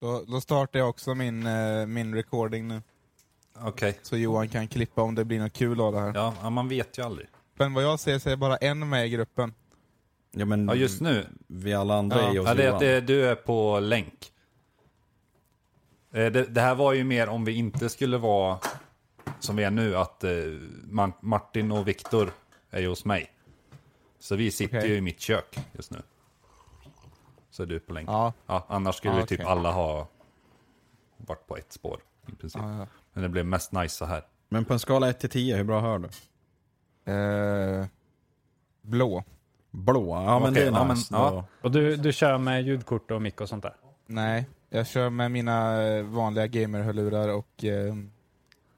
Då, då startar jag också min, eh, min recording nu. Okej. Så Johan kan klippa om det blir något kul av det här. Ja, ja, man vet ju aldrig. Men vad jag ser så är bara en med i gruppen. Ja men Ja, just nu. vi alla andra Ja. är ju Ja, hos det är Mm. Johan. att det, du är på länk. Eh, Det, det här var ju mer om vi inte skulle vara som vi är nu, att eh, Ma- Martin och Viktor är ju hos mig. Så vi sitter Okej. ju i mitt kök just nu. Så är du på länk. Ja. annars skulle Ah, Ja, ju typ okej. alla ha varit på ett spår i Ah. princip. Ja, ja. Men det blev mest nice så här. Men på en skala 1 till 10, hur bra hör du? Eh, blå. Blå? Ja men Okej, det ja, är men, nice. ja. Då- Och du, du kör med ljudkort och mick och sånt där? Nej, jag kör med mina eh, vanliga gamer-hörlurar och eh, in-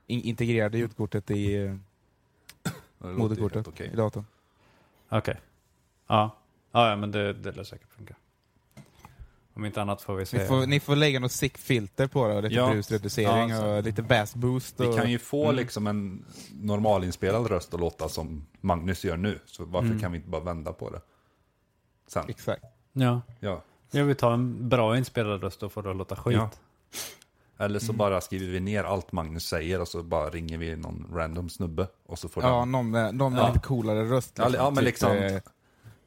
integrerade ljudkortet i eh, Det låter ju moderkortet, helt okej. i datorn. Okej. Ja. ja, ja, men det, det lär säkert funka. Om inte annat får vi se. Ni får, ni får lägga något sick filter på det och lite Ja. brusreducering Ja, så. och lite bass boost. Vi Och, kan ju få Mm. liksom en normalinspelad röst att låta som Magnus gör nu. Så varför Mm. kan vi inte bara vända på det? Sen. Exakt. Ja. Ja. Jag vill ta en bra inspelad röst och få det att låta skit. Ja. Eller Mm. så bara skriver vi ner allt Magnus säger och så bara ringer vi någon random snubbe. Och så får Ja, ja, någon med, någon med Ja. lite coolare röst. Ja, ja, men Typ, liksom- eh,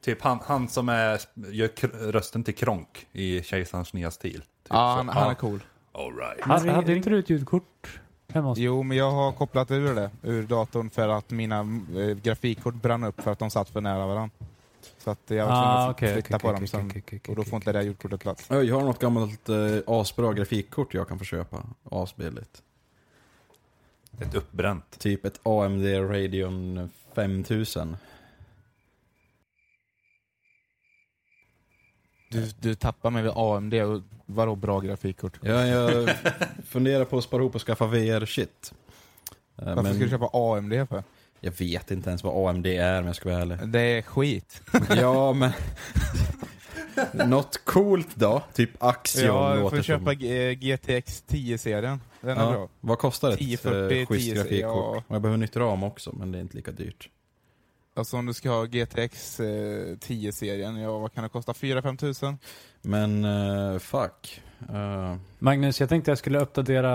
Typ han, han som är, gör kr- rösten till Kronk i Kejsarens nya stil. Typ ja, så. han, han Ja. är cool. All right. Hade, hade inte du ett ljudkort hemma hos Jo, men jag har kopplat ur det ur datorn för att mina eh, grafikkort brann upp för att de satt för nära varandra. Så att jag var tvungen Ah, att okej, flytta okej, på okej, dem sen. okej, okej, okej, och då okej, får inte det där ljudkortet plats. Oj, Jag har något gammalt eh, asbra grafikkort jag kan få köpa. Asbilligt. Ett uppbränt. Typ ett AMD Radeon 5000. Du, du tappar mig vid AMD och vadå bra grafikkort? Jag, jag funderar på att spara ihop och skaffa VR-shit. Eh, Varför ska du Men köpa AMD för? jag vet inte ens vad AMD är om jag ska vara ärlig. Det är skit. Ja, men... Något coolt då? Typ Axion Jag låter får som. köpa eh, GTX 10-serien. Den är Ja, bra. Vad kostar ett 1040, 1040, schysst 10, grafikkort? ja. Och jag behöver nytt ram också, men det är inte lika dyrt. Alltså om du ska ha GTX eh, 10-serien, ja vad kan det kosta? 4-5 tusen? Men eh, fuck. Eh, Magnus, jag tänkte jag skulle uppdatera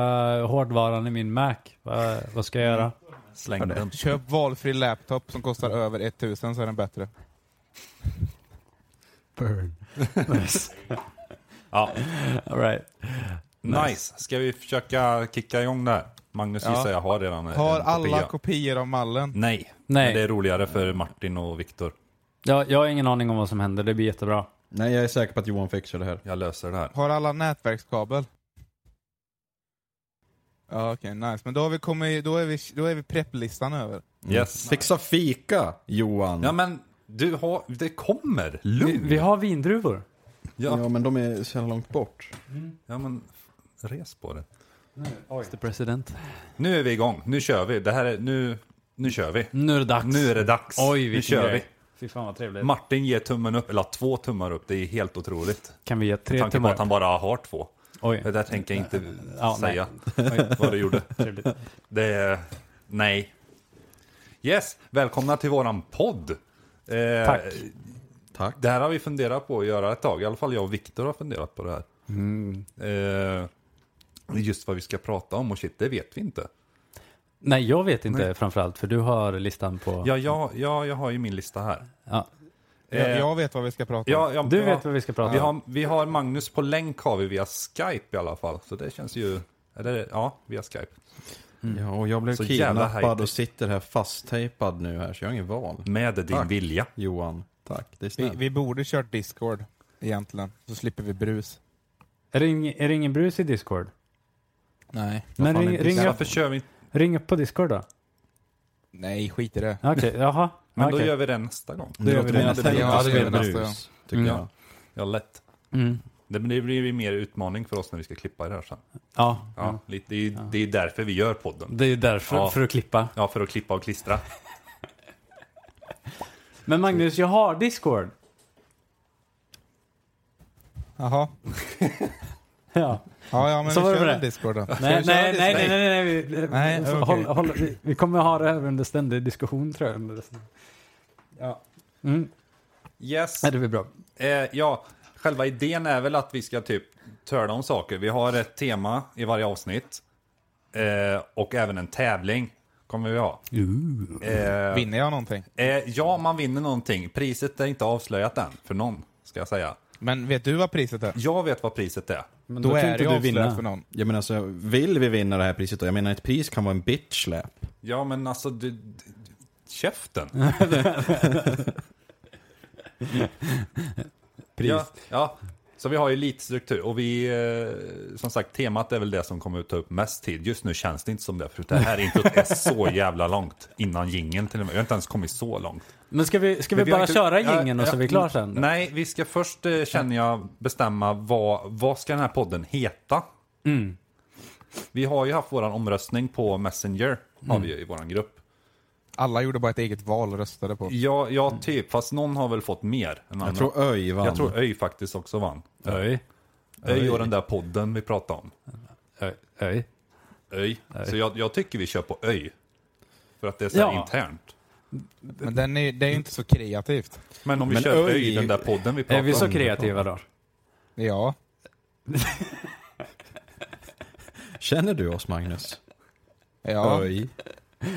hårdvaran i min Mac. Va, vad ska jag göra? Släng den. Köp valfri laptop som kostar över 1000 så är den bättre. Burn. Ja. All right. Nice. Ska vi försöka kicka igång där? Magnus Ja. gissar jag har redan en Har alla kopia. kopior av mallen? Nej. Nej. Men det är roligare för Martin och Viktor. Ja, jag har ingen aning om vad som händer, det blir jättebra. nej, jag är säker på att Johan fixar det här. Jag löser det här. Har alla nätverkskabel? Ja okej, nice. Men då, har vi kommit, då är vi, då är vi prepplistan över. Yes. Mm. Fixa fika, Johan! Ja men, du har, det kommer. Mm. Vi, Lugn. vi har vindruvor. Ja. Ja, men de är så jävla långt bort. ja men, f- res på det. Mr President. Nu är vi igång. Nu kör vi. Det här är, nu, nu kör vi. Nu är det dags. Nu är det dags. Oj, nu vilken kör grej. Fy fan vad trevligt. vi. Martin ger tummen upp, eller två tummar upp. Det är helt otroligt. kan vi ge Med tre tanke på timmar? att han bara har två. Oj, Det där tänker jag inte Ja, nej. säga. Vad du gjorde. trevligt. Det är... Nej. Yes, välkomna till våran podd. Eh, Tack. Tack. Det här har vi funderat på att göra ett tag. I alla fall jag och Viktor har funderat på det här. Eh, just vad vi ska prata om och shit, det vet vi inte. Nej, jag vet inte framförallt, för du har listan på... Ja, ja, ja, jag har ju min lista här. Ja. Eh, Jag, jag vet vad vi ska prata om. Ja, ja, Du ja. vet vad vi ska prata Vi om. har, vi har Magnus på länk har vi via Skype i alla fall. Så det känns ju... Eller ja, via Skype. Mm. Ja, och jag blev Så jävla kidnappad hajpigt. och sitter här fasttejpad nu här, så jag har ingen val. Med din Tack. vilja. Johan, tack. Det Vi, är snällt. vi borde kört Discord egentligen, så slipper vi brus. Är, det ing, är det ingen brus i Discord? Nej. Men fan ring, är det? ring, upp, Varför kör vi inte? ring upp på Discord då. Nej, skit i det. Okej, jaha. Men Okej. då gör vi det nästa gång. Det gör vi Mm. låter det. nästan Ja, det gör vi lite nästa gång. brus, tycker Mm. jag. Ja, lätt. mm. Det, men det blir ju mer utmaning för oss när vi ska klippa det här sen. Mm. ja, Ja, Lite, det, är, ju- det är därför vi gör podden. det är ju därför, Ja. för att klippa. Ja, för att klippa och klistra. Men Magnus, jag har Discord. Jaha. Ja. Ja, ja men Så vi var det kör med väl det. Discord då. Ska Nej, vi köra nej, nej, nej, Discord? nej, nej, vi- Nej, vi- okej. håll, håll, vi, vi kommer ha det här under ständig diskussion tror jag. under ständig- Ja. Mm. Yes. Nej, det blir bra. Eh, ja, själva idén är väl att vi ska typ törda om saker. Vi har ett tema i varje avsnitt. Eh, och även en tävling kommer vi ha. Eh, Vinner jag någonting? eh, ja, man vinner någonting. Priset är inte avslöjat än, för någon, ska jag säga. Men vet du vad priset är? Jag vet vad priset är. Men Då, kan är Mm, inte det ju du avslöjat vinna. för någon. Jag menar, alltså, vill vi vinna det här priset då? Jag menar, ett pris kan vara en bitch slap. Ja, men alltså, du, du, käften. Pris. Ja, ja. Så vi har ju lite struktur och vi, eh, som sagt, temat är väl det som kommer att ta upp mest tid. Just nu känns det inte som det, för det här introt är så jävla långt innan jingeln till och med. Jag har inte ens kommit så långt. Men ska vi, ska vi, Men vi har bara inte- köra ja, gingen och så ja, är vi klara sen? Nej, vi ska först, eh, känner jag, bestämma vad, vad ska den här podden heta? Mm. Vi har ju haft vår omröstning på Messenger, har vi ju i vår grupp. Alla gjorde bara ett eget val och röstade på. Ja, ja, typ, fast någon har väl fått mer än annan. Jag tror Öj vann. jag tror Öj faktiskt också vann. Öj. Öj och den där podden vi pratade om. Öj. Öj. Öj. Så jag, jag tycker vi kör på Öj. För att det är så här Ja. internt. Men den är, det är ju inte så kreativt. Men om vi Men kör Öj- Öj, den där podden vi pratade Är om. vi så kreativa då? Ja. Känner du oss, Magnus? Ja, Öj.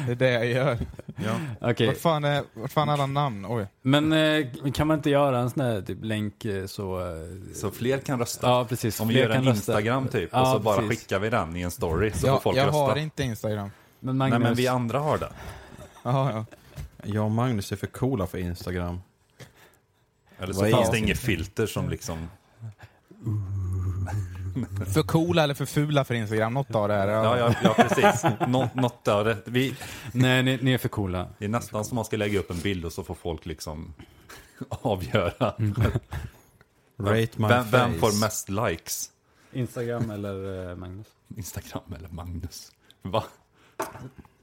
det är det jag gör. Ja. Okej, Vart fan är, vart fan är alla namn? Oj. men eh, kan man inte göra en sån här typ, länk eh, så... Eh, Så fler kan rösta. ja, precis. Om vi Fler gör en kan rösta. Instagram typ och Ja, så bara precis. skickar vi den i en story så får Jag, folk jag rösta. har inte Instagram. Men Nej Magnus, men vi andra har det. Jaha, ja. Jag och Magnus är för coola för Instagram. Eller så Vad är fanns det det? inget filter som liksom... För coola eller för fula för Instagram? Något av det här. Ja, Ja. ja, ja precis. Nå, något av det. Vi, Nej, ni, ni är för coola. det är nästan som man ska lägga upp en bild och så får folk liksom avgöra. Rate my Vem, face. vem får mest likes? Instagram eller eh, Magnus? Instagram eller Magnus? Va?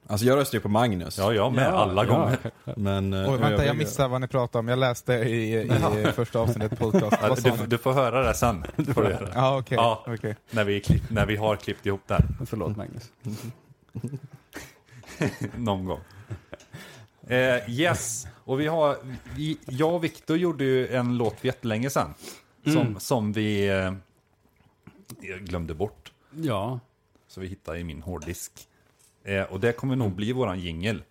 Alltså, jag röstar ju på Magnus. Ja, jag med. alla gånger. Men, eh, Oj, vänta, jag övriga- missade vad ni pratade om. Jag läste i, i första avsnittet podcast. Ja, Vad sa Äh, Du, ni? du får höra det sen. Får du göra. Ja, okej. Ja. okej. När, vi klipp, när vi har klippt ihop det här Förlåt Magnus. någon gång. Eh, yes, och vi har, vi, jag och Viktor gjorde ju en låt för jättelänge sedan. Som, Mm. som vi eh, glömde bort. Ja, Så vi hittade i min hårddisk. Eh, och det kommer nog bli våran jingel.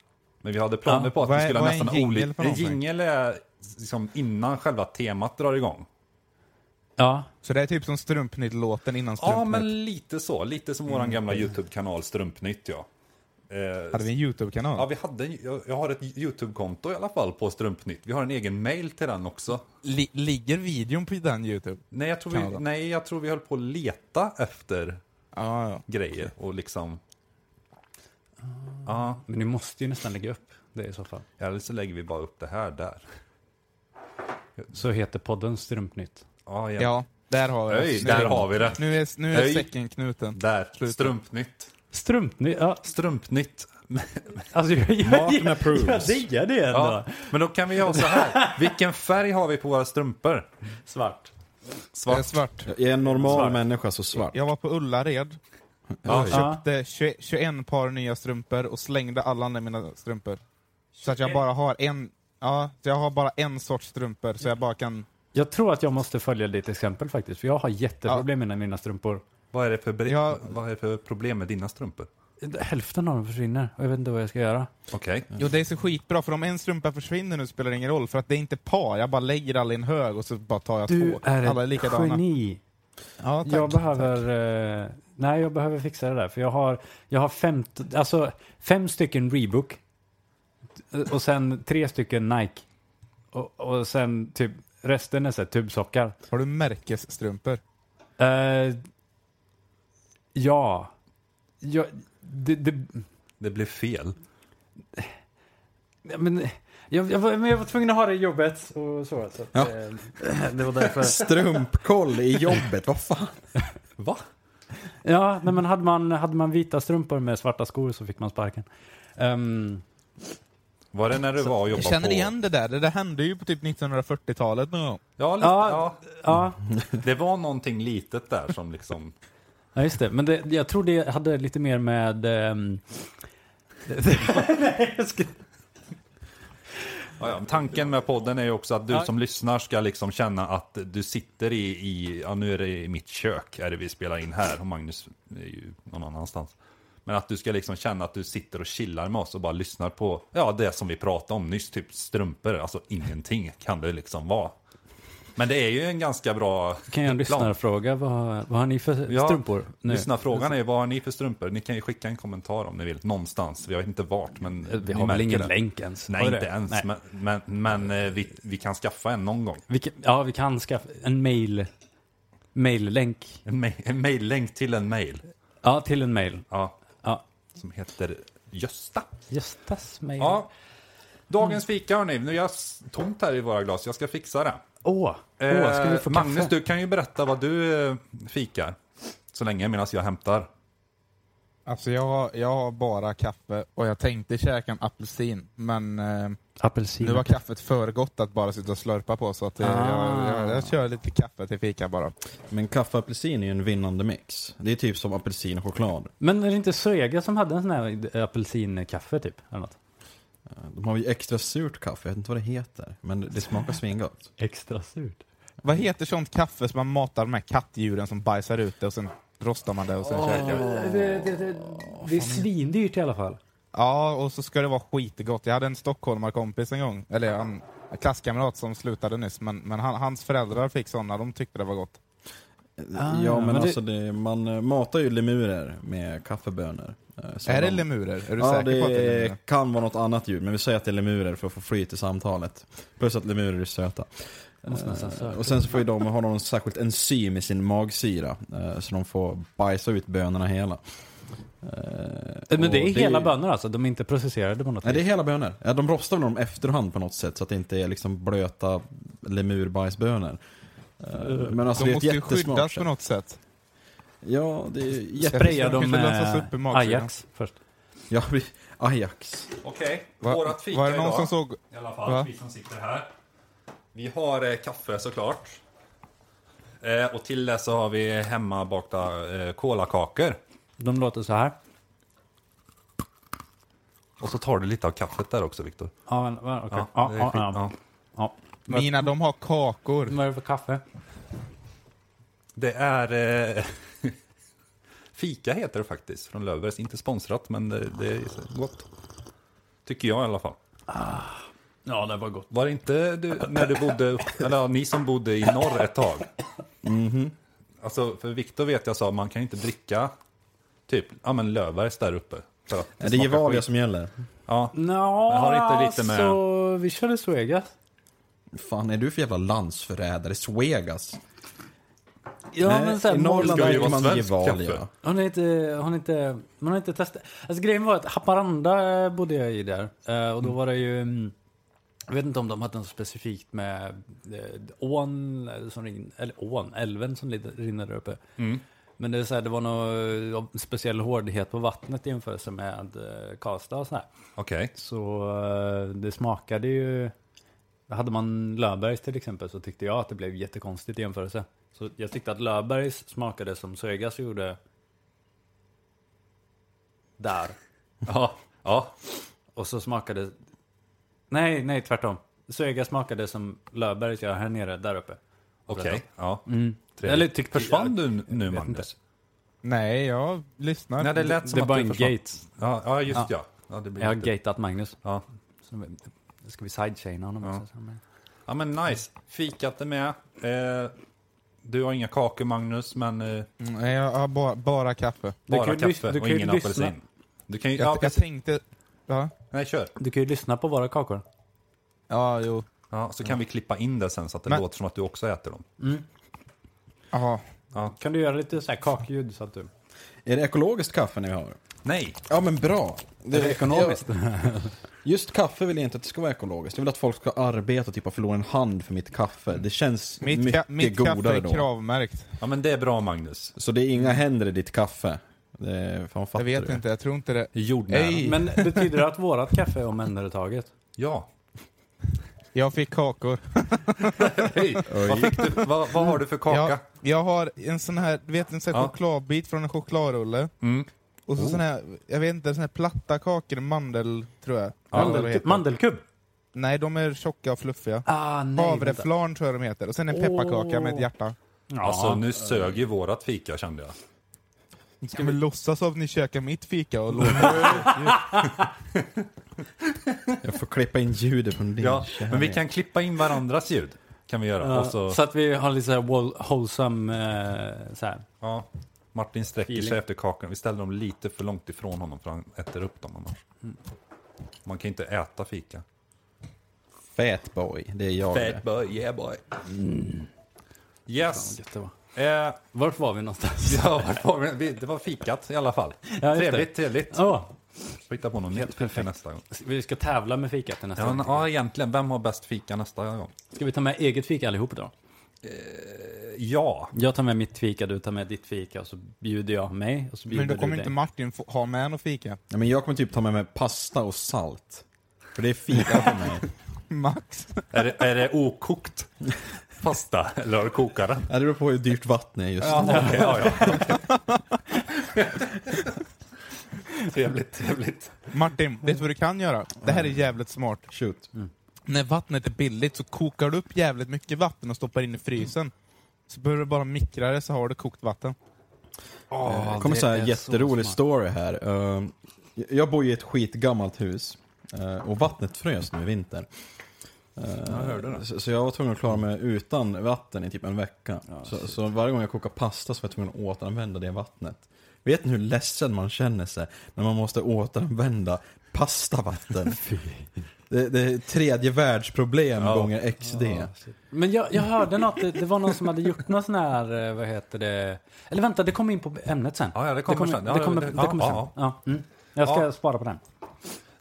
Men vi hade planer på att Vad vi är- skulle ha vad är en nästan jingle olika... för En någonting? jingel är liksom innan själva temat drar igång. ja. Så det är typ som Strumpnytt-låten innan Strumpnytt. Ja, men lite så. Lite som våran gamla YouTube-kanal Strumpnytt, ja. Eh, Hade vi en YouTube-kanal? Ja, vi hade, en- jag- jag har ett YouTube-konto i alla fall på Strumpnytt. Vi har en egen mail till den också. Li- ligger videon på den YouTube? Nej, jag tror vi, Kanada. nej, jag tror vi höll på att leta efter Ja, ja. grejer och liksom... Ja, Men ni måste ju nästan lägga upp det i så fall. eller så lägger vi bara upp det här där. Så heter podden Strumpnytt. Ja, ja. ja där har vi Öj, där har vi det. Nu är, nu är Öj. säcken knuten. Där, Strumpnytt. Strumpnytt? Ja, Strumpnytt. alltså jag, jag, Martin jag, jag approves. diggar det ändå. Ja, men då kan vi göra så här. Vilken färg har vi på våra strumpor? Svart. Det är Svart. svart. Jag är en normal Svart. människa så svart. Jag var på Ullared, Ja, Ja. köpte 20, 21 par nya strumpor och slängde alla andra mina strumpor. Så att jag bara har en, ja, så jag har bara en sorts strumpor så jag bara kan... Jag tror att jag måste följa ditt exempel faktiskt, för jag har jätteproblem med mina strumpor. Vad, är det för, bri- Ja. vad är det för problem med dina strumpor? Hälften av dem försvinner och jag vet inte vad jag ska göra. Okej. Jo, det är så skitbra för om en strumpa försvinner nu spelar det ingen roll för att det är inte par, jag bara lägger alla i en hög och så bara tar jag Du två. är alla är ett likadana. geni. Ja, tack. Jag behöver, eh, nej, jag behöver fixa det där, för jag har, jag har fem, alltså, fem stycken Reebok och sen tre stycken Nike och, och sen typ resten är så här tubsockar. Har du märkesstrumpor? Eh, ja, ja det, det, Det blev fel. Ja, Men jag, jag, var, men jag var tvungen att ha det i jobbet och så. så att, Ja. eh, det var därför. Strumpkoll i jobbet, vad fan? Va? Ja, nej, men hade man, hade man vita strumpor med svarta skor så fick man sparken. Ehm, Var det när du var och Jag jobbade känner på... igen det där, det där hände ju på typ 1940-talet någon gång. Ja, lite, Ja. ja. ja, Det var någonting litet där som liksom... ja, just det. Men det, jag tror det hade lite mer med... ehm, nej, jag ska... Ja, ja. Tanken med podden är ju också att du som lyssnar ska liksom känna att du sitter i, i, ja nu är det i mitt kök, är det vi spelar in här och Magnus är ju någon annanstans. Men att du ska liksom känna att du sitter och chillar med oss och bara lyssnar på, ja det som vi pratade om nyss, typ strumpor, alltså ingenting kan det liksom vara. Men det är ju en ganska bra Kan jag lyssna plan. och fråga vad, vad har ni för Ja, strumpor nu? Lyssnarfrågan är ju, vad har ni för strumpor? Ni kan ju skicka en kommentar om ni vill, någonstans. Vi vet inte vart, men Eh, Vi ni har väl märker ingen det. länk ens? Nej, Har vi inte det? ens. Nej. Men, men, men eh, vi, vi kan skaffa en någon gång. Vi kan, ja, vi kan skaffa en mail, mail-länk. En, ma- en mail-länk till en mail. Ja, till en mail. Ja, Ja. som heter Gösta. Göstas mail. Åh! Ja. Dagens fika hörni, nu är jag s- tomt här i våra glas. Jag ska fixa det. Åh, ska vi Eh, få kaffe? Magnus, du kan ju berätta vad du eh, fikar. Så länge medan jag hämtar. Alltså jag, har- jag har bara kaffe och jag tänkte käka en apelsin, men eh, Apelsin. nu var kaffet för gott att bara sitta och slurpa på så att eh, jag, Ah. jag, jag kör lite kaffe till fika bara. Men kaffe och apelsin är ju en vinnande mix. Det är typ som apelsin och choklad. Men är det inte Svega som hade en sån här apelsinkaffe typ? Eller något? De har ju extra surt kaffe, jag vet inte vad det heter. Men det smakar svingott. Extra surt. Vad heter sånt kaffe som man matar med kattdjuren som bajsar ut det och sen rostar man det och sen käkar? Eh, Det, det, det, det, är svindyrt i alla fall. Ja, och så ska det vara skitgott. Jag hade en stockholmarkompis en gång, eller en klasskamrat som slutade nyss, men, men han, hans föräldrar fick sådana, de tyckte det var gott. Ah, ja men, men det- alltså det, man eh, matar ju lemurer med kaffebönor. eh, så är det de- lemurer? Är du Ja, säker det, på att det är lemurer? kan vara något annat djur, men vi säger att det är lemurer för att få flyt i samtalet. Plus att lemurer är söta. måste nästan Eh, söka. och sen så får ju de ha någon särskilt enzym i sin magsyra, eh, så de får bajsa ut bönorna hela. Eh, Men och det är hela bönor alltså? De är inte processerade på något Nej, det är vis? hela bönor. Ja, de rostar väl dem efterhand på något sätt, så att det inte är liksom blöta lemurbajsbönor. Eh, Men alltså de det är ett måste ju jättesmart skyddas på sätt. något sätt. Ja, det är jätte... Sprayar Jag förstår, de kanske lösas upp i med magsyran. Ajax först? Ja, vi- Ajax. Okej, Va, vårat fika var det någon idag. som såg... I alla fall, Va? vi som sitter här. Vi har eh, kaffe såklart. Eh, och till det så har vi hemmabakta eh, kolakakor. De låter så här. Och så tar du lite av kaffet där också, Viktor. Ja, men, va, okej. det ja, är ja, skit- ja, ja. ja. Mina, de har kakor. Vad är det för kaffe? Det är... Eh, fika heter det faktiskt, från Löfbergs. Inte sponsrat, men det, det är så gott. Tycker jag i alla fall. Ja, det var gott. Var det inte du, när du bodde, eller ja, ni som bodde i norr ett tag? Alltså, för Viktor vet jag sa, man kan inte dricka typ, ja men Löfbergs där uppe. För att Det är smakar Gevalia skit. som gäller. Ja, Nå, Men har det inte lite med- alltså, vi körde Suegas. fan är du för jävla landsförrädare? Svegas? Ja, Nej, men sen, Eh, I Norrland Ska ju vara dricker man svensk Gevalia. kaffe. Hon har inte, hon har inte, man har inte testat. Alltså grejen var att Haparanda eh, bodde jag i där. Eh, och då var det ju, mm, jag vet inte om de hade något specifikt med eh, ån, eh, som rin, eller ån, älven som lid- rinner där uppe. Men det, är så här, det var någon eh, speciell hårdhet på vattnet i jämförelse med eh, Karlstad och sådär. okej. Så eh, det smakade ju... Hade man Löfbergs till exempel så tyckte jag att det blev jättekonstigt i jämförelse. Så jag tyckte att Löfbergs smakade som Sögas gjorde där. Ja, ja. Och så smakade... Nej, nej tvärtom. Sögas smakade som Löfbergs gör här nere, där uppe. okej. Ja. Trevligt. Eller tyckte typ, Försvann Mm. jag- du n- nu, vet Magnus? Nej, jag lyssnar. Nej, det lät som Det att var du en försvann. gate. Ja, ja just ja. ja. det blir Jag har lite- gateat Magnus. ja. Så ska vi sidechaina honom också. ja, men nice. Fikat är med. Eh, du har inga kakor, Magnus, men eh, Mm, Nej, jag har bara, bara kaffe. Du bara kan ju lys- kaffe du och kan ju ingen lyssna. apelsin. Du kan ju... Jag, Ja, jag precis. tänkte... Ja, Nej, kör. Du kan ju lyssna på våra kakor. ja jo. Ja, så kan vi klippa in det sen så att det Men- låter som att du också äter dem. Jaha. Kan du göra lite så här kakljud så att du... Är det ekologiskt kaffe ni har? Nej, Ja men bra. Det är ekonomiskt? Just kaffe vill jag inte att det ska vara ekologiskt. Jag vill att folk ska arbeta och typ ha förlorat en hand för mitt kaffe. Det känns Mitt, ka mycket mitt kaffe godare är då. kravmärkt. ja, men det är bra Magnus. Så det är inga händer i ditt kaffe. Det är, fan fattar Jag vet du? inte, jag tror inte det. Jordnära. Ej. Men betyder det att vårat kaffe är omhändertaget? Ja. Jag fick kakor. Hej. Vad, fick du, vad, vad har du för kaka? Jag, jag har en sån här, du vet en sån här Ja. chokladbit från en chokladrulle. Mm. Och Oh. så sån här, jag vet inte, sån här platta kakor, mandel tror jag. Mandel, Eller vad det heter. mandelkubb? Nej, de är tjocka och fluffiga. Ah, nej. vänta. Havreflarn tror jag de heter. Och sen en pepparkaka med ett hjärta. Ja. Alltså nu sög ju vårat fika kände jag. Ska vi låtsas att ni käkar mitt fika och låta... Jag får klippa in ljudet från din Ja, kärlek. men vi kan klippa in varandras ljud. Kan vi göra. Ja, Och så, Så att vi har lite såhär whol- wholesome, eh, så här. ja, Martin sträcker sig Feeling. efter kakan. Vi ställer dem lite för långt ifrån honom för han äter upp dem annars. Mm. Man kan inte äta fika. Fat boy, det är jag det. boy, yeah boy. Mm. Yes. Gött det var. Eh, ja, Vart var vi någonstans? vart var vi? Vi- det var fikat i alla fall. Ja, just det. trevligt, trevligt. Åh, Får hitta på något nytt fika nästa gång. vi ska tävla med fika till nästa Ja, men, gång. ja, egentligen. Vem har bäst fika nästa gång? Ska vi ta med eget fika allihop då? Ja, Jag tar med mitt fika, du tar med ditt fika och så bjuder jag mig och så bjuder Men då kommer du inte dig. Martin få- ha med någon fika. Ja, men jag kommer typ ta med mig pasta och salt. För det är fika för mig. Max. är det, är det okokt pasta eller har du kokat den? Ja, Det beror på hur dyrt vatten är just nu. Ja, okej, ja, ja. trevligt, trevligt. Martin, vet du vad du kan göra? Det här är jävligt smart. Shoot. När vattnet är billigt så kokar du upp jävligt mycket vatten och stoppar in i frysen. Så behöver du bara mikra det så har du kokt vatten. Det kommer så här jätterolig story här. Eh, Jag bor i ett skitgammalt hus eh, och vattnet frös nu i vinter. Eh, Så så jag var tvungen att klara mig utan vatten i typ en vecka. Så, så varje gång jag kokar pasta så var jag tvungen att återanvända det vattnet. Vet ni hur ledsen man känner sig när man måste återanvända pastavatten? det, det är tredje världsproblem Ja. gånger XD. Men jag, jag hörde något, det, det var någon som hade gjort någon sån här, eh, vad heter det? Eller vänta, det kommer in på ämnet sen. Ja, ja, det kommer sen. Ja, Det kommer, det- det ja, kommer sen. ja, Ja, mm. Jag ska Ja. spara på den.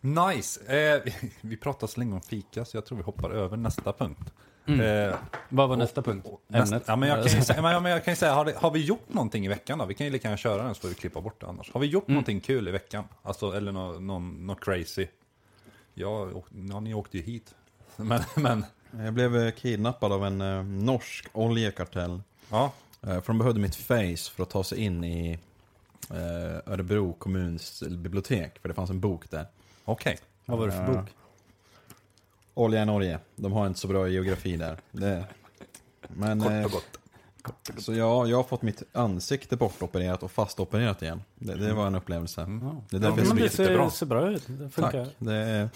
Nice. Eh, vi- vi pratade så länge om fika så jag tror vi hoppar över nästa punkt. Eh, Vad var nästa punkt? nästa- Ämnet? ja, men jag kan ju säga, men jag- men jag kan ju säga har, det, har vi gjort någonting i veckan då? Vi kan ju lika gärna köra den så får vi klippa bort det annars. Har vi Mm. gjort någonting kul i veckan? Alltså, eller något nå, nå crazy? Jag, åk- ja, ni åkte ju hit. Men, men Jag blev eh, kidnappad av en eh, norsk oljekartell. ja, Eh, För de behövde mitt face för att ta sig in i eh, Örebro kommuns bibliotek, för det fanns en bok där. okej. Vad var det för bok? Olja i Norge, de har inte så bra geografi där. Det. Men, Kort eh, och gott. så ja, jag har fått mitt ansikte bortopererat och fastopererat igen. Det, det var en upplevelse. Det är Ja, därför men jag Mm. Men blir det blir... jättebra. ser, ser bra ut. Det Tack. funkar. Det är,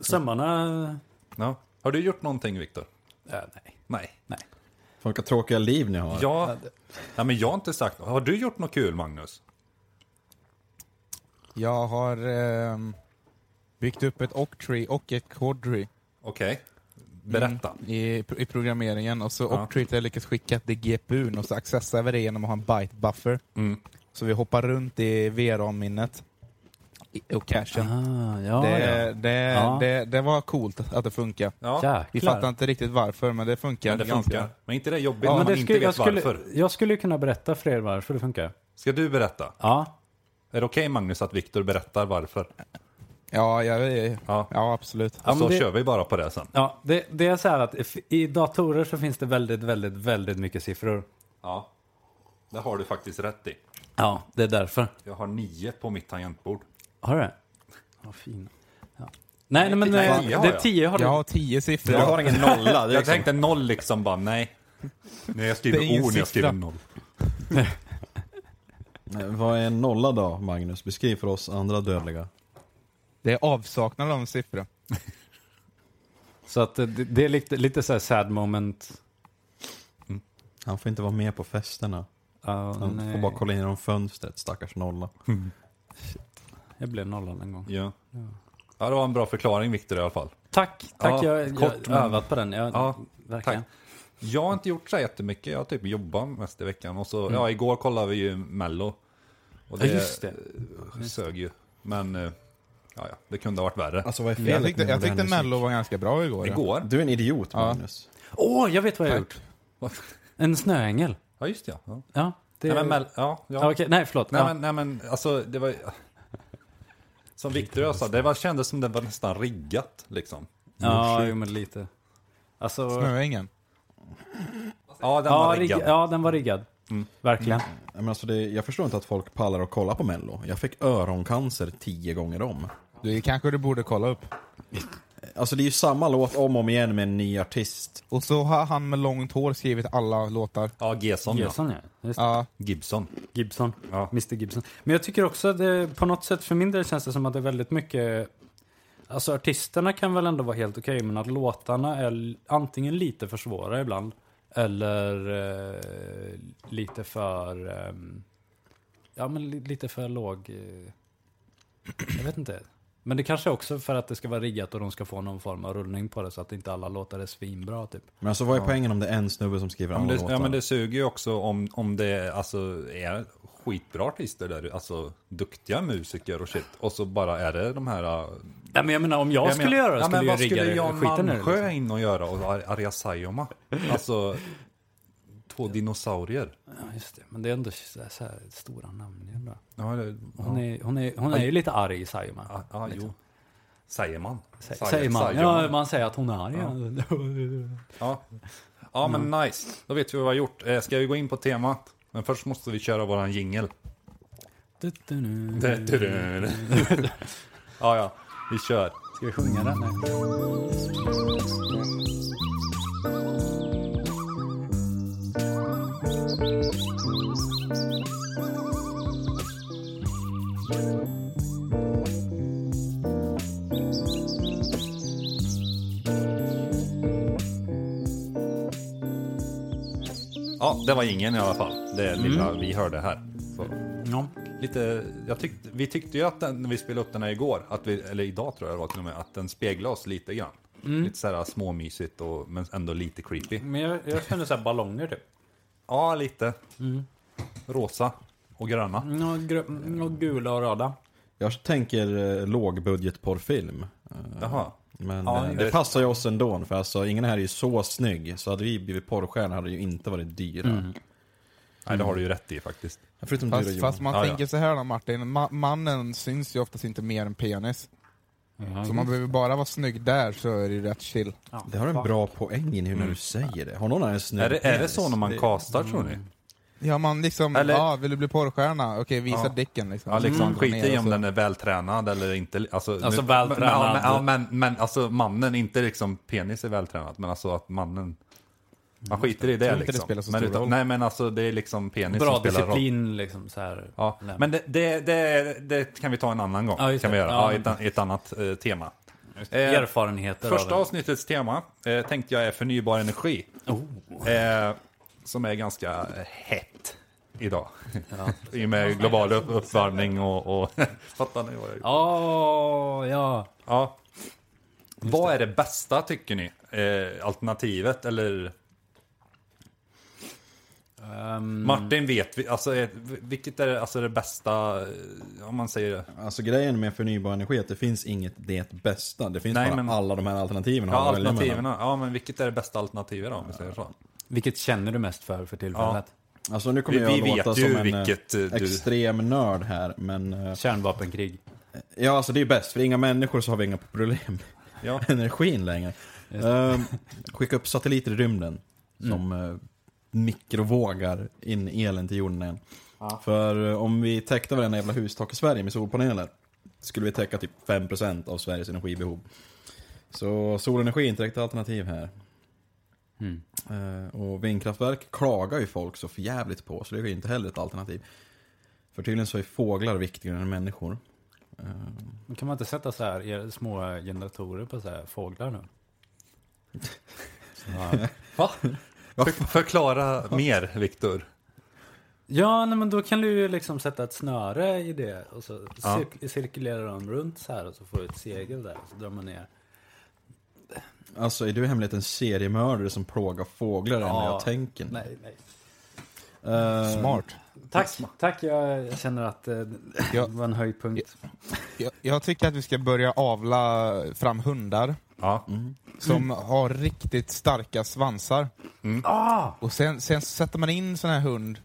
Sömmarna... Ja. Har du gjort någonting Viktor? Ja, nej. Nej. fan vilka tråkiga liv ni har. Ja, ja, men jag har inte sagt något. Har du gjort något kul Magnus? Jag har ehm, byggt upp ett Octree och ett Quadree. Okej, berätta. Mm, i, I programmeringen. Och så Ja. Octree har jag lyckats skicka till GPUn och så accessar vi det genom att ha en byte buffer. Mm. Så vi hoppar runt i VRAM-minnet i- och cachen. Ah, ja, det, ja. Det, Ja. Det, det var coolt att det funkar. Ja, Jäklar. Vi fattar inte riktigt varför, men det funkar. men det funkar. ganska- Men inte det är jobbigt Ja, när men man det inte skulle, vet jag, skulle, varför? jag skulle kunna berätta för er varför det funkar. Ska du berätta? Ja, Är det okej Magnus att Viktor berättar varför? Ja, jag, Ja. ja. ja, absolut. Ja, Och så men det- kör vi bara på det sen. ja det, det är så här att if- i datorer så finns det väldigt, väldigt, väldigt mycket siffror. Ja, det har du faktiskt rätt i. Ja, det är därför. Jag har nio på mitt tangentbord. Har du det? Vad fin. Ja. Nej, nej, men Nej, tio eh, har det är jag. tio har du. Jag har tio siffror. Jag har ingen nolla. Det är Jag liksom... tänkte noll liksom bara, nej. Nej, jag skriver Det är ingen O när jag skriver siffra. noll. Eh, Vad är en nolla då, Magnus? Beskriv för oss andra dödliga. Det är avsaknad av en siffra. Så att eh, det, det är lite, lite så här sad moment. Han får inte vara med på festerna. Ja, Han nej. får bara kolla in genom fönstret, stackars nolla. Jag blev nollad en gång. Ja. ja, det var en bra förklaring Viktor i alla fall. Tack, tack. Ja, jag jag kort, har men- övat på den. Jag, Ja, verkligen. tack. Jag har inte gjort så jättemycket, jag har typ jobbat mest i veckan. Och så, ja, igår kollade vi ju Mello. Och Ja, just det. eh, sög ju. Men, eh, ja, ja, det kunde ha varit värre. Alltså vad är felet Jag tyckte, med jag tyckte modern musik? Mello var ganska bra igår. ja. Igår? Du är en idiot Magnus. Åh, jag vet vad jag har gjort. En snöängel. Ja, just det, ja. Ja, det... Nej, men, Mel- ja, ja. Ja, okej, nej, förlåt. Nej, ja. men, nej, men alltså, det var... Som Viktor och jag sa, det var, kändes som det var nästan riggat, liksom. Ja, jo, men lite. Alltså, Snöängen. Ja, den ja, var rigg, riggad. Mm. ja, den var riggad. Verkligen. Ja, Men alltså det, jag förstår inte att folk pallar och kolla på Mello. Jag fick öroncancer tio gånger om. Du, kanske du borde kolla upp. Alltså det är ju samma låt om och om igen med en ny artist. Och så har han med långt hår skrivit alla låtar. Ja, Gesson ja. Gibson, ja. Just det. Ja, Gibson. Gibson. Ja. Mr Gibson. Men jag tycker också att det, på något sätt för min del känns det som att det är väldigt mycket... Alltså artisterna kan väl ändå vara helt okej, men att låtarna är l- antingen lite för svåra ibland, eller eh, lite för... ehm, ja, men li, lite för låg... Eh, jag vet inte. Men det kanske är också för att det ska vara riggat och de ska få någon form av rullning på det, så att inte alla låtar är svinbra typ. Men alltså vad är poängen om det är en snubbe som skriver Ja men, alla det, låtar? ja men det suger ju också om, om det alltså, är skitbra artister där, alltså duktiga musiker och shit. Och så bara är det de här... äh, Ja, men jag menar, om jag, jag skulle menar- göra det ja, skulle men jag Vad rigga skulle det- Jan skiten nu. Malmsjö Liksom. in och göra och Ar- Arja Saijonmaa? Alltså, två dinosaurier. Ja, just det. Men det är ändå så här, så här stora namn. Ändå. Ja, det, Hon, ja. är, hon, är, hon är ju lite arg, säger man. Ja, ja, jo. Saijonmaa. Sä- Sai- Säger man. Saijonmaa. Ja, man säger att hon är arg. Ja, ja men nice. Då vet vi vad vi har gjort. Eh, Ska vi gå in på temat? Men först måste vi köra våran jingel. Du-du-du. ja, ja, vi kör. Ska vi sjunga den? Nej. Ja, det var ingen i alla fall. Det lilla vi hörde här. Så. Ja. Lite, jag tyckte, vi tyckte ju att den, när vi spelade upp den här igår, att vi, eller idag tror jag det var till och med, att den speglade oss lite grann. Lite så här småmysigt och, men ändå lite creepy. Men jag, jag känner så här ballonger typ. Ja, lite. Rosa och gröna. Och, gr- och gula och röda. Jag tänker eh, lågbudgetporrfilm. Eh, Jaha. Men Ja, eh, jag det vet. passar ju oss ändå, för alltså ingen här är ju så snygg. Så hade vi blivit porrstjärnor hade det ju inte varit dyra. Mm. Nej, det har du ju rätt i faktiskt. Förutom du Fast, då, fast man Ja, ja. tänker så här då Martin, Ma- mannen syns ju oftast inte mer än penis. Ja, Mm. Så man behöver bara vara snygg där så är det ju rätt chill. Det har en bra poäng i nu när du säger det. Har någon här en snygg Mm. Är det, är det Mm. penis? så när man castar tror ni? Ja man liksom, Eller- ja vill du bli porrstjärna? Okej visa Ja. dicken liksom. Ja, liksom Mm. skit i Ner och om så- den är vältränad eller inte. Alltså, Alltså, nu- vältränad. Men, ja, men, men alltså mannen, inte liksom penis är vältränad, men alltså att mannen... Man skiter i det Mm, tror inte det liksom. spelar så men stor roll. nej, men alltså det är liksom penis Bra som spelar roll. disciplin liksom så här. Ja, men det, det, det, det kan vi ta en annan gång. Ja, just kan vi det. göra. Ja. Ja, ett, an- ett annat eh, tema. Eh, Erfarenheter första av avsnittets tema eh, tänkte jag är förnybar energi. Oh. Eh, som är ganska eh, hett idag. I och med global upp- uppvärmning och... och fattar ni vad jag Ja, ja. Ja. Vad är det bästa tycker ni? Eh, alternativet eller? Ehm, Martin vet vi, alltså eh, vilket är det- alltså det bästa, eh, om man säger det? Alltså grejen med förnybar energi är att det finns inget det bästa. Det finns Nej, bara men- alla de här alternativen. Ja, att välja mellan. alternativen. Ja, men vilket är det bästa alternativet då, om vi säger så? vilket känner du mest för för tillfället? Alltså nu kommer Vi- jag vi att låta vet ju som en eh, vilket, eh, du- extrem nörd här, men... eh, Kärnvapenkrig. Ja, alltså det är bäst. För inga människor så har vi inga problem Ja. med energin längre. Ehm, skicka upp satelliter i rymden som eh, mikrovågar in elen till jorden igen. För eh, om vi täckte varenda jävla hustak i Sverige med solpaneler skulle vi täcka typ 5% av Sveriges energibehov. Så solenergi är inte riktigt alternativ här. Mm. Eh, och vindkraftverk klagar ju folk så förjävligt på, så det är ju inte heller ett alternativ. För tydligen så är fåglar viktigare än människor. Ehm, Men Kan man inte sätta så här er- små generatorer på så här fåglar nu? Va? För, förklara mer, Viktor. Ja, nej, men då kan du ju liksom sätta ett snöre i det och så Ja. cir- cirkulerar de runt så här och så får du ett segel där och så drar man Mm. ner. Alltså är du i hemlighet en seriemördare som plågar fåglar än vad Ja. jag tänker? Nej, nej. Eh, Smart. Tack, tack. Jag jag känner att eh, det Ja. var en höjdpunkt. Jag, jag tycker att vi ska börja avla fram hundar Ja. som har riktigt starka svansar. Och sen, sen så sätter man in sån här hund,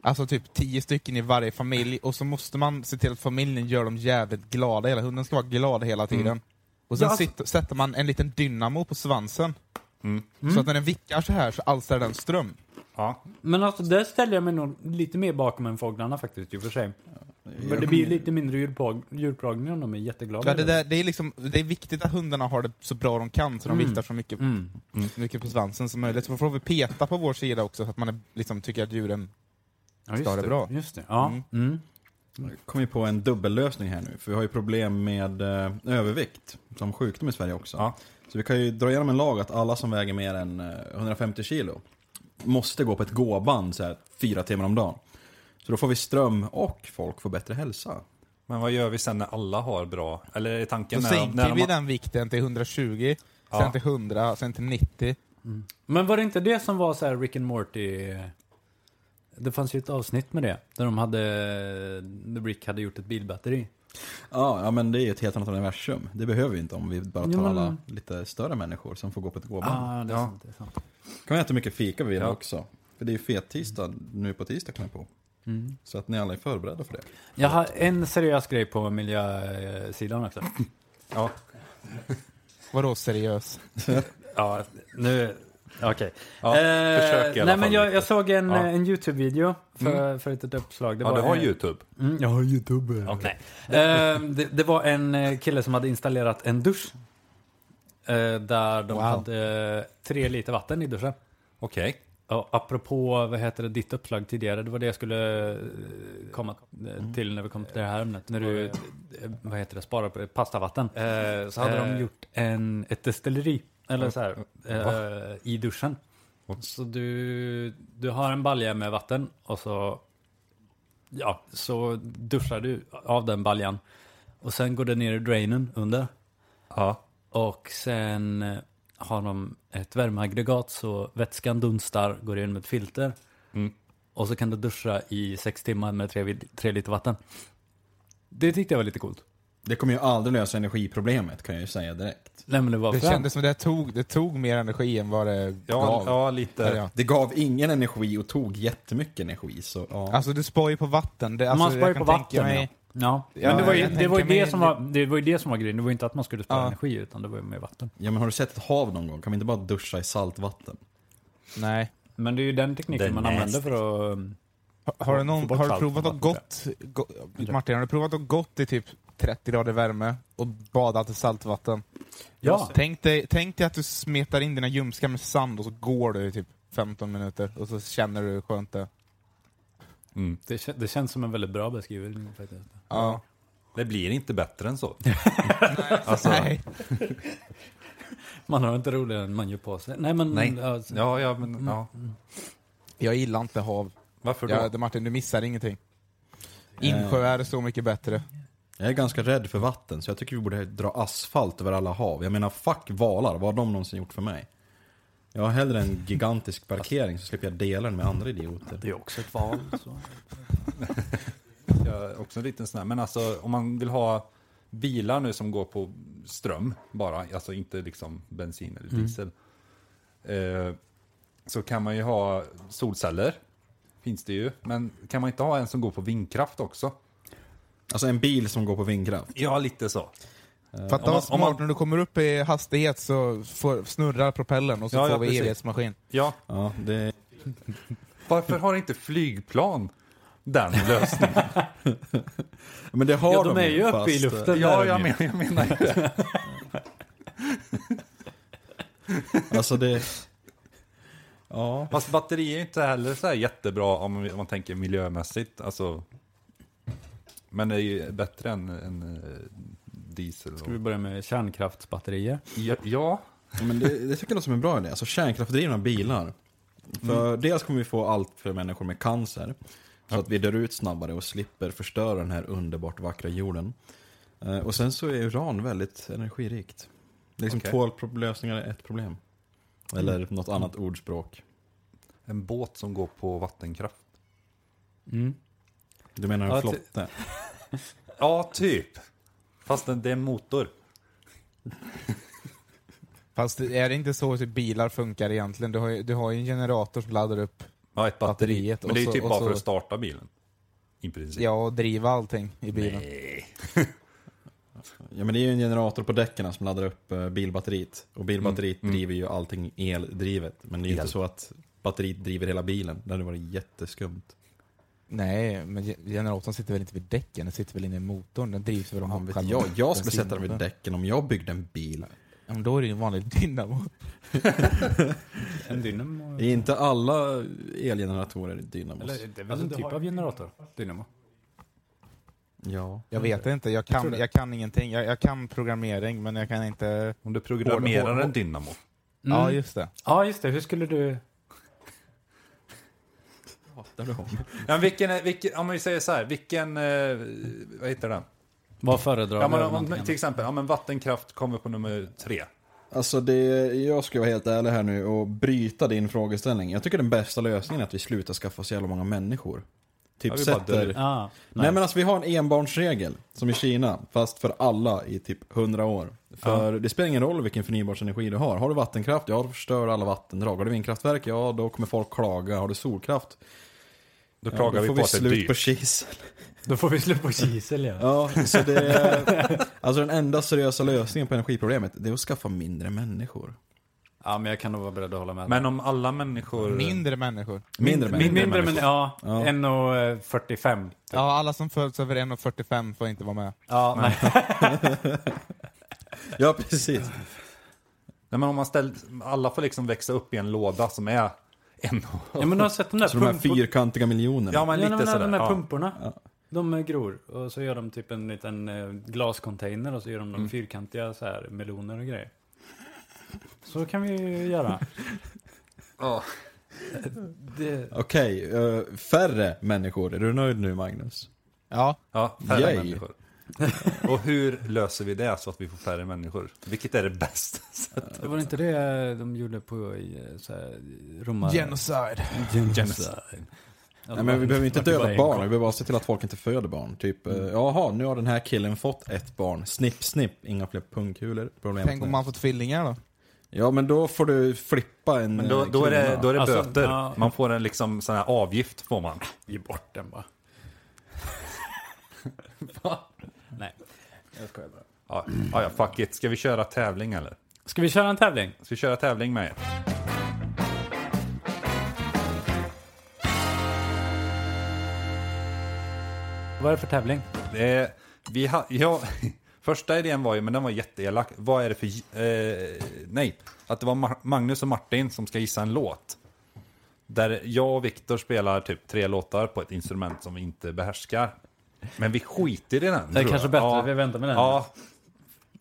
alltså typ tio stycken i varje familj, och så måste man se till att familjen gör dem jävligt glada, hela hunden ska vara glad hela tiden. Och sen Ja, alltså- sitter, sätter man en liten dynamo på svansen. Så att när den vickar så här så alstrar den ström. ja. Men alltså, där ställer jag mig nog lite mer bakom än fåglarna faktiskt i och för sig. Men det blir ju lite mindre djurplag- djurplagning om de är jätteglada. Ja, det, över där, det, är liksom, det är viktigt att hundarna har det så bra de kan, så de Mm. viktar så mycket, Mm. så mycket på svansen som möjligt. Så får vi peta på vår sida också, så att man är, liksom, tycker att djuren... Ja, just Ska det bra. Just det. Ja. Mm. Mm. Jag kom ju på en dubbellösning här nu, för vi har ju problem med eh, övervikt som sjukdom i Sverige också. Ja. Så vi kan ju dra igenom en lag att alla som väger mer än eh, 150 kilo måste gå på ett gåband så här fyra timmar om dagen. Så då får vi ström och folk får bättre hälsa. Men vad gör vi sen när alla har bra? Eller är Så tanken när, de- sänker när vi de har... den vikten till 120, sen Ja. till 100, sen till 90. Men var det inte det som var så här Rick and Morty? eh, Det fanns ju ett avsnitt med det. Där de hade, där Rick hade gjort ett bilbatteri. Ja, ja, men det är ju ett helt annat universum. Det behöver vi inte om vi bara tar Ja, men- alla lite större människor som får gå på ett gåband. Ah, det är Ja. sant. Det är sant. kan vi äta mycket fika vi vill Ja. också. För det är ju fet-tisdag nu på tisdag kan jag på. Så att ni alla är förberedda för det. Mm. Jag har en seriös grej på miljösidan också. Ja, Vadå seriös? Ja, nu... Okej. ja, Eh, försök i alla nej, fall men jag, lite. jag såg en, Ja. eh, en YouTube-video för, för ett uppslag. Mm. Det ja, var du har en- YouTube. Mm, jag har YouTube. Okej. Eh, det, det var en eh, kille som hade installerat en dusch. Eh, där de Wow. hade eh, tre liter vatten i duschen. Okej. Ja, apropå vad heter det, ditt uppslag tidigare, det var det jag skulle eh, komma eh, till när vi kom till det här ämnet. När du, eh, vad heter det, sparar på pastavatten. Eh, Så hade de eh, gjort en, ett destilleri, eller så här, eh, i duschen. Va? Så du, du har en balja med vatten och så, ja, så duschar du av den baljan. Och sen går det ner i drainen under. Ja. Och sen eh, har de ett värmeaggregat så vätskan dunstar, går in med ett filter. Mm. Och så kan du duscha i sex timmar med tre, vid- tre liter vatten. Det tyckte jag var lite coolt. Det kommer ju aldrig lösa energiproblemet kan jag ju säga direkt. Nej men det var Det fränt. kändes som det tog, det tog mer energi än vad det Ja, gav. ja, Eller lite. ja. Det gav ingen energi och tog jättemycket energi. Så, ja. Alltså du spar ju på vatten. Det, alltså, man sparar jag ju på kan vatten. tänka mig- ja. Ja. Ja, men det, var ju, jag det, var ju tänker det, mig- som var, det var ju det som var grejen. Det var ju inte att man skulle spara Ja. energi, utan det var ju mer vatten. ja, men har du sett ett hav någon gång? Kan vi inte bara duscha i saltvatten? Nej. Men det är ju den tekniken Det är man nasty. använder för att... um, Har, har, du, Få någon, bort har du salt provat från att gått, gå, Martin, har du provat att gått i typ 30 grader värme och badat i saltvatten? Ja. Tänk dig, tänk dig att du smetar in dina ljumskar med sand och så går du i typ 15 minuter och så känner du hur skönt det är. Mm. Det, kän- det känns som en väldigt bra beskrivning. faktiskt. Ja. Det blir inte bättre än så. Nej. Man har inte roligare än man gör på sig. Nej men... Nej. ja, så- Ja, ja, men ja. Jag gillar inte hav. Varför då? Ja, Martin, du missar ingenting. Eh. Insjöar är så mycket bättre. Jag är ganska rädd för vatten, så jag tycker vi borde dra asfalt över alla hav. Jag menar, fuck valar. Vad har de någonsin gjort för mig? Jag har hellre en gigantisk parkering så slipper jag dela den med andra idioter. Det är också ett val. Så. Jag är också en liten sån här. Men alltså om man vill ha bilar nu som går på ström bara, alltså inte liksom bensin eller diesel. Eh, så kan man ju ha solceller, finns det ju. Men kan man inte ha en som går på vindkraft också? Alltså en bil som går på vindkraft. Ja, lite så. Eh. Fatta om man- vad om smart, man- när du kommer upp i hastighet så får, snurrar propellen och så Ja, får ja, vi precis. evighetsmaskin. Ja, Ja, det... varför har inte flygplan den lösningen? Men det har Ja, de är ju uppe fast, i luften. ja, där jag de ju. menar, jag menar ju det. eh, Alltså det... Ja. Fast batteri är ju inte heller så här jättebra om man tänker miljömässigt. Alltså, men det är ju bättre än, än eh, diesel. Ska vi Och, börja med kärnkraftsbatterier? ja, ja, Ja, men det, det tycker jag låter som en bra idé. Alltså kärnkraftdrivna bilar. För dels kommer vi få allt fler människor med cancer. Så att vi dör ut snabbare och slipper förstöra den här underbart vackra jorden. Eh, och sen så är uran väldigt energirikt. Det är liksom Okej. två prob- lösningar är ett problem. Eller något annat ordspråk. en båt som går på vattenkraft. Du menar en Ja, ty- flotte? Ja, typ. Fast den- det är en motor. Fast det- är det inte så att bilar funkar egentligen? Du har ju, du har ju en generator som laddar upp Ja, ett batteri. Batteriet men och det är ju så- typ och bara så- för att starta bilen. I princip. ja, och driva allting i bilen. Nej. Ja men det är ju en generator på däcken som laddar upp eh, bilbatteriet. Och bilbatteriet driver ju allting eldrivet. Men det är ju El. inte så att batteriet driver hela bilen. Det hade varit jätteskumt. Nej, men ge- generatorn sitter väl inte vid däcken, den sitter väl inne i motorn. Den drivs väl av Fan vet själva jag, jag skulle sätta den bensinmotorn. vid däcken om jag byggde en bil. Ja, men Då är det ju en vanlig dynamo. En dynamo? Är inte alla elgeneratorer dynamos? Eller, det är väl en typ av generator? Dynamo? Ja. Jag vet inte, jag kan, jag kan ingenting. Jag, jag kan programmering, men jag kan inte... Mm. Om du programmerar Hård- hård- en dynamo. Ja, just det. Mm. Ja, just det. Hur skulle du... Ja, men vilken, är- vilken, om vi säger så här, vilken... Eh, vad heter den? Vad föredrar Ja, du? men, över om, någonting till exempel, ja, men vattenkraft kommer på nummer tre. Alltså det, jag ska vara helt ärlig här nu och bryta din frågeställning. Jag tycker den bästa lösningen är att vi slutar skaffa så jävla många människor. Typ Ja, vi bara sätter... dör. annat? Ah, Nej. men alltså vi har en enbarnsregel, som i Kina, fast för alla i typ 100 år. För det spelar ingen roll vilken förnybarsenergi du har. Har du vattenkraft, ja då förstör alla vattendrag. Har du vindkraftverk, ja då kommer folk klaga. Har du solkraft, Då ja, klagar då vi får på vi att det är slut dyrt. på kisel. då får vi slå på kisel, ja. Ja, så det är, alltså den enda seriösa lösningen på energiproblemet, det är att skaffa mindre människor. Ja, men jag kan nog vara beredd att hålla med. Men om alla människor... Mindre människor. Mindre, Min- människor. mindre, men ja. Ja. 1,45. Ja, alla som föds över 1,45 får inte vara med. Ja, nej. Ja, precis. Nej, men om man ställer, alla får liksom växa upp i en låda som är en... Ja, men du har sett de där Så de här pumpor- fyrkantiga miljonerna. Ja, men Ja, lite men sådär. de här ja. pumporna. De eh, gror och så gör de typ en liten eh, glascontainer och så gör de Mm. de fyrkantiga så här meloner och grejer. Så kan vi ju göra. Ja. Det, Okej, eh, färre människor. Är du nöjd nu Magnus? Ja, Ja, färre Yay. människor. Och hur löser vi det så att vi får färre människor? Vilket är det bästa? det Eh, var inte det de gjorde på i, eh, så här, romar... genocide. Genocide. Ja, Nej, men vi behöver ju inte vart det bara döda en barn, gång. vi behöver bara se till att folk inte föder barn. Typ, Mm. eh, jaha, nu har den här killen fått ett barn. Snipp, snipp, inga fler pungkulor. Problemet Tänk om är- man får tvillingar då? Ja, men då får du flippa en Men då, eh, då är det, krona. då är det Alltså, böter. ja. Man får en liksom sån här avgift får man. Ge bort den bara. Nej, jag skojar bara. Ja, ja, ja, fuck it. Ska vi köra tävling eller? Ska vi köra en tävling? Ska vi köra tävling med er? Vad är det för tävling? Det är, vi ha, ja, första idén var ju, men den var jätteelak. Vad är det för... Eh, nej, att det var Ma- Magnus och Martin som ska gissa en låt. Där jag och Viktor spelar typ tre låtar på ett instrument som vi inte behärskar. Men vi skiter i den. Det är kanske bättre att vi väntar med den. Ja,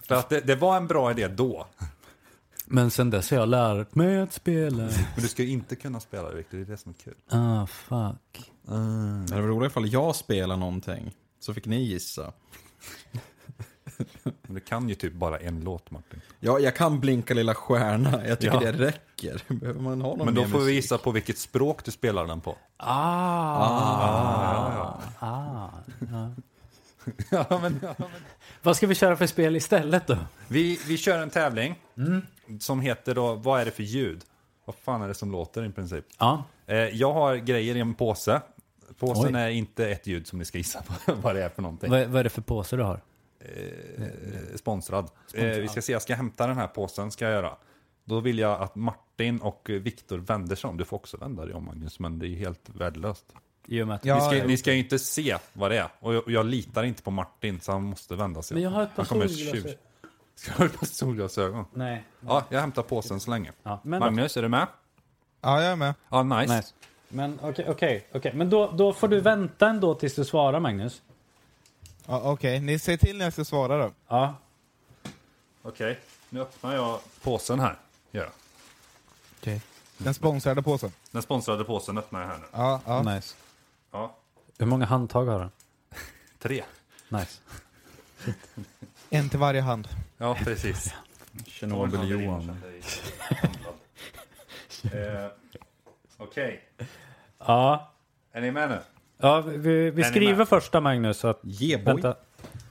för att det, det var en bra idé då. Men sen dess har jag lärt mig att spela. Men du ska ju inte kunna spela det, Viktor. Det är det som är kul. Ah, fuck. Det var roligt ifall jag spelar någonting. Så fick ni gissa. Men du kan ju typ bara en låt, Martin. Ja, jag kan blinka lilla stjärna. Jag tycker Ja. det räcker. Behöver man ha någon Men då mer får vi musik? Ah. gissa på vilket språk du spelar den på. Ah. Vad ska vi köra för spel istället då? Vi, vi kör en tävling Mm. som heter då Vad är det för ljud? Vad fan är det som låter i princip? Ja. Eh, jag har grejer i en påse. Påsen Oj. är inte ett ljud som ni ska gissa på vad det är för någonting. Vad, vad är det för påse du har? Eh, Sponsrad. Eh, vi ska se, jag ska hämta den här påsen ska jag göra. Då vill jag att Martin och Viktor vänder sig om. Du får också vända dig om Magnus, men det är helt värdelöst. I och med att... Ni Ja, ska, ni ska ju inte se vad det är. Och jag, och jag litar inte på Martin, så han måste vända sig Men jag om. har ett par Han kommer solglasögon. tjur- Ska du ha ett par solglasögon? Nej. Ja, jag hämtar påsen så länge. Ja, men- Magnus, är du med? Ja, jag är med. Ja, nice. Nice. Men okej, okej, okej. Men då, då får du vänta ändå tills du svarar Magnus. Ja, Okej, ni säger till när jag ska svara då. Ja. Okej, nu öppnar jag påsen här. Gör jag. Okej. Den sponsrade påsen. Den sponsrade påsen öppnar jag här nu. Ja, ja. Nice. Ja, Hur många handtag har den? tre. Nice. En till varje hand. Ja, precis. Tjernobyl-Johan. Eh, Okej, Ja. är ni med nu? Ja, vi, vi med? skriver första Magnus så att... Ge boy. Vänta.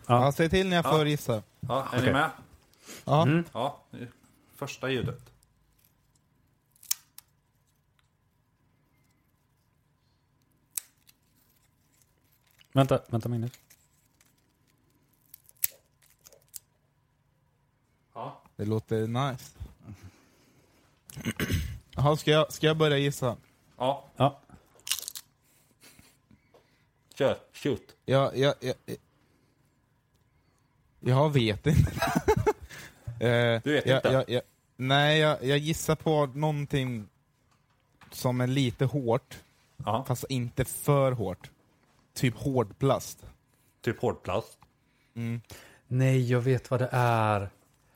Ja. Ja, säg till när jag får gissa. Ja, Mm. är ni med? Ja. Mm. Ja, nu- första ljudet. Vänta, vänta Magnus. Ja. Det låter nice. Jaha, ska jag, ska jag börja gissa? Ja, Ja. kör, shoot. Jag, jag, jag, jag vet inte. Eh, Du vet jag, inte? Jag, jag, nej, jag, jag gissar på någonting som är lite hårt, Ja, fast inte för hårt. Typ hårdplast. typ hårdplast. Nej, jag vet vad det är.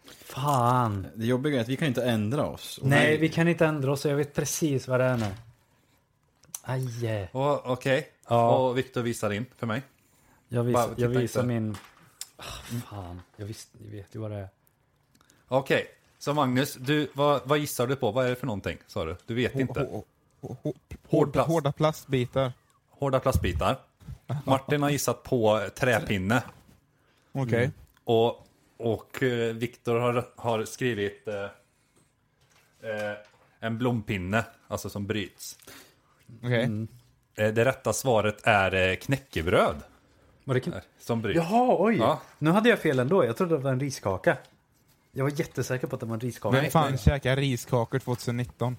Fan. Det jobbiga är att vi kan inte ändra oss. Och Nej, vi kan inte ändra oss. Jag vet precis vad det är nu. Aj. eh. Och, Okej, Ja. och Viktor visar in för mig. Jag Bara, visar, titta jag visar inte. min... Ah, fan, jag, visst, jag vet ju vad det är. Okej, så Magnus, du, vad, vad gissar du på? Vad är det för någonting? Sa du? Du vet inte. Hå- hå- hå- Hård plast. Hårda plastbitar. Hårda plastbitar. Martin har gissat på eh, träpinne. Okej. Och, och eh, Viktor har, har skrivit eh, eh, en blompinne, alltså som bryts. okej. Eh, det rätta svaret är eh, knäckebröd Var det kan... eh, som bryts. Jaha, oj! Ja. Nu hade jag fel ändå. Jag trodde det var en riskaka. Jag var jättesäker på att det var en riskaka. Vem fan käkar riskakor 2019?